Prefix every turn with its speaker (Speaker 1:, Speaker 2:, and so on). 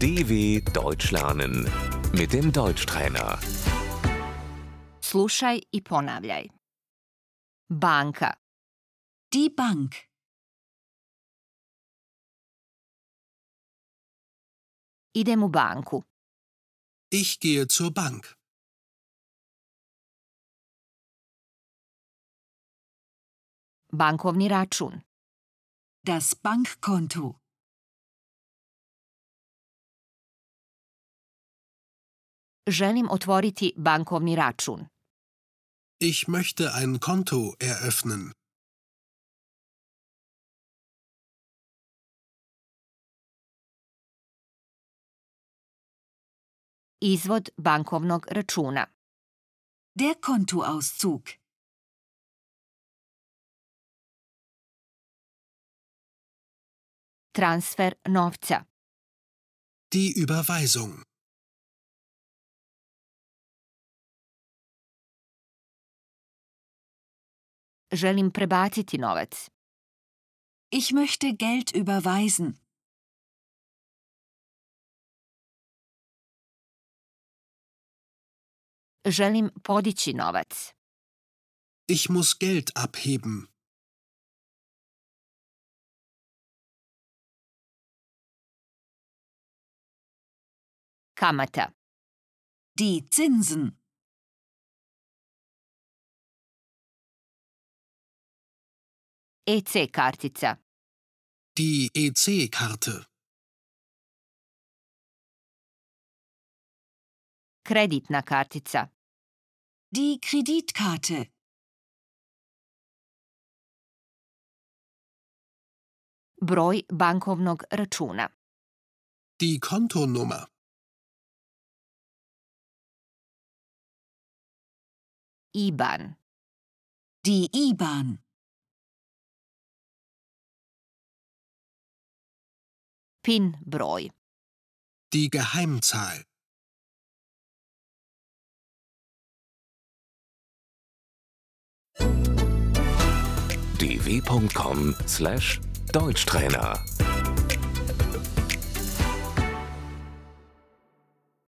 Speaker 1: DW Deutsch lernen mit dem Deutschtrainer.
Speaker 2: Slušaj i ponavljaj. Banka.
Speaker 3: Die Bank.
Speaker 2: Idem u banku.
Speaker 4: Ich gehe zur Bank.
Speaker 2: Bankovni račun.
Speaker 3: Das Bankkonto.
Speaker 2: Želim otvoriti bankovni račun.
Speaker 4: Ich möchte ein Konto eröffnen.
Speaker 2: Izvod bankovnog računa.
Speaker 3: Der Kontoauszug.
Speaker 2: Transfer novca.
Speaker 4: Die Überweisung.
Speaker 2: Želim prebaciti novac.
Speaker 3: Ich möchte Geld überweisen.
Speaker 2: Želim podići novac.
Speaker 4: Ich muss Geld abheben.
Speaker 2: Kamata.
Speaker 3: Die Zinsen.
Speaker 2: EC E kartica.
Speaker 4: Die E EC-Karte.
Speaker 2: Kreditna kartica.
Speaker 3: Die Kreditkarte.
Speaker 2: Broj bankovnog računa.
Speaker 4: Die Kontonummer.
Speaker 2: IBAN.
Speaker 3: Die IBAN.
Speaker 2: PIN broj.
Speaker 4: Die Geheimzahl.
Speaker 1: dw.com/deutschtrainer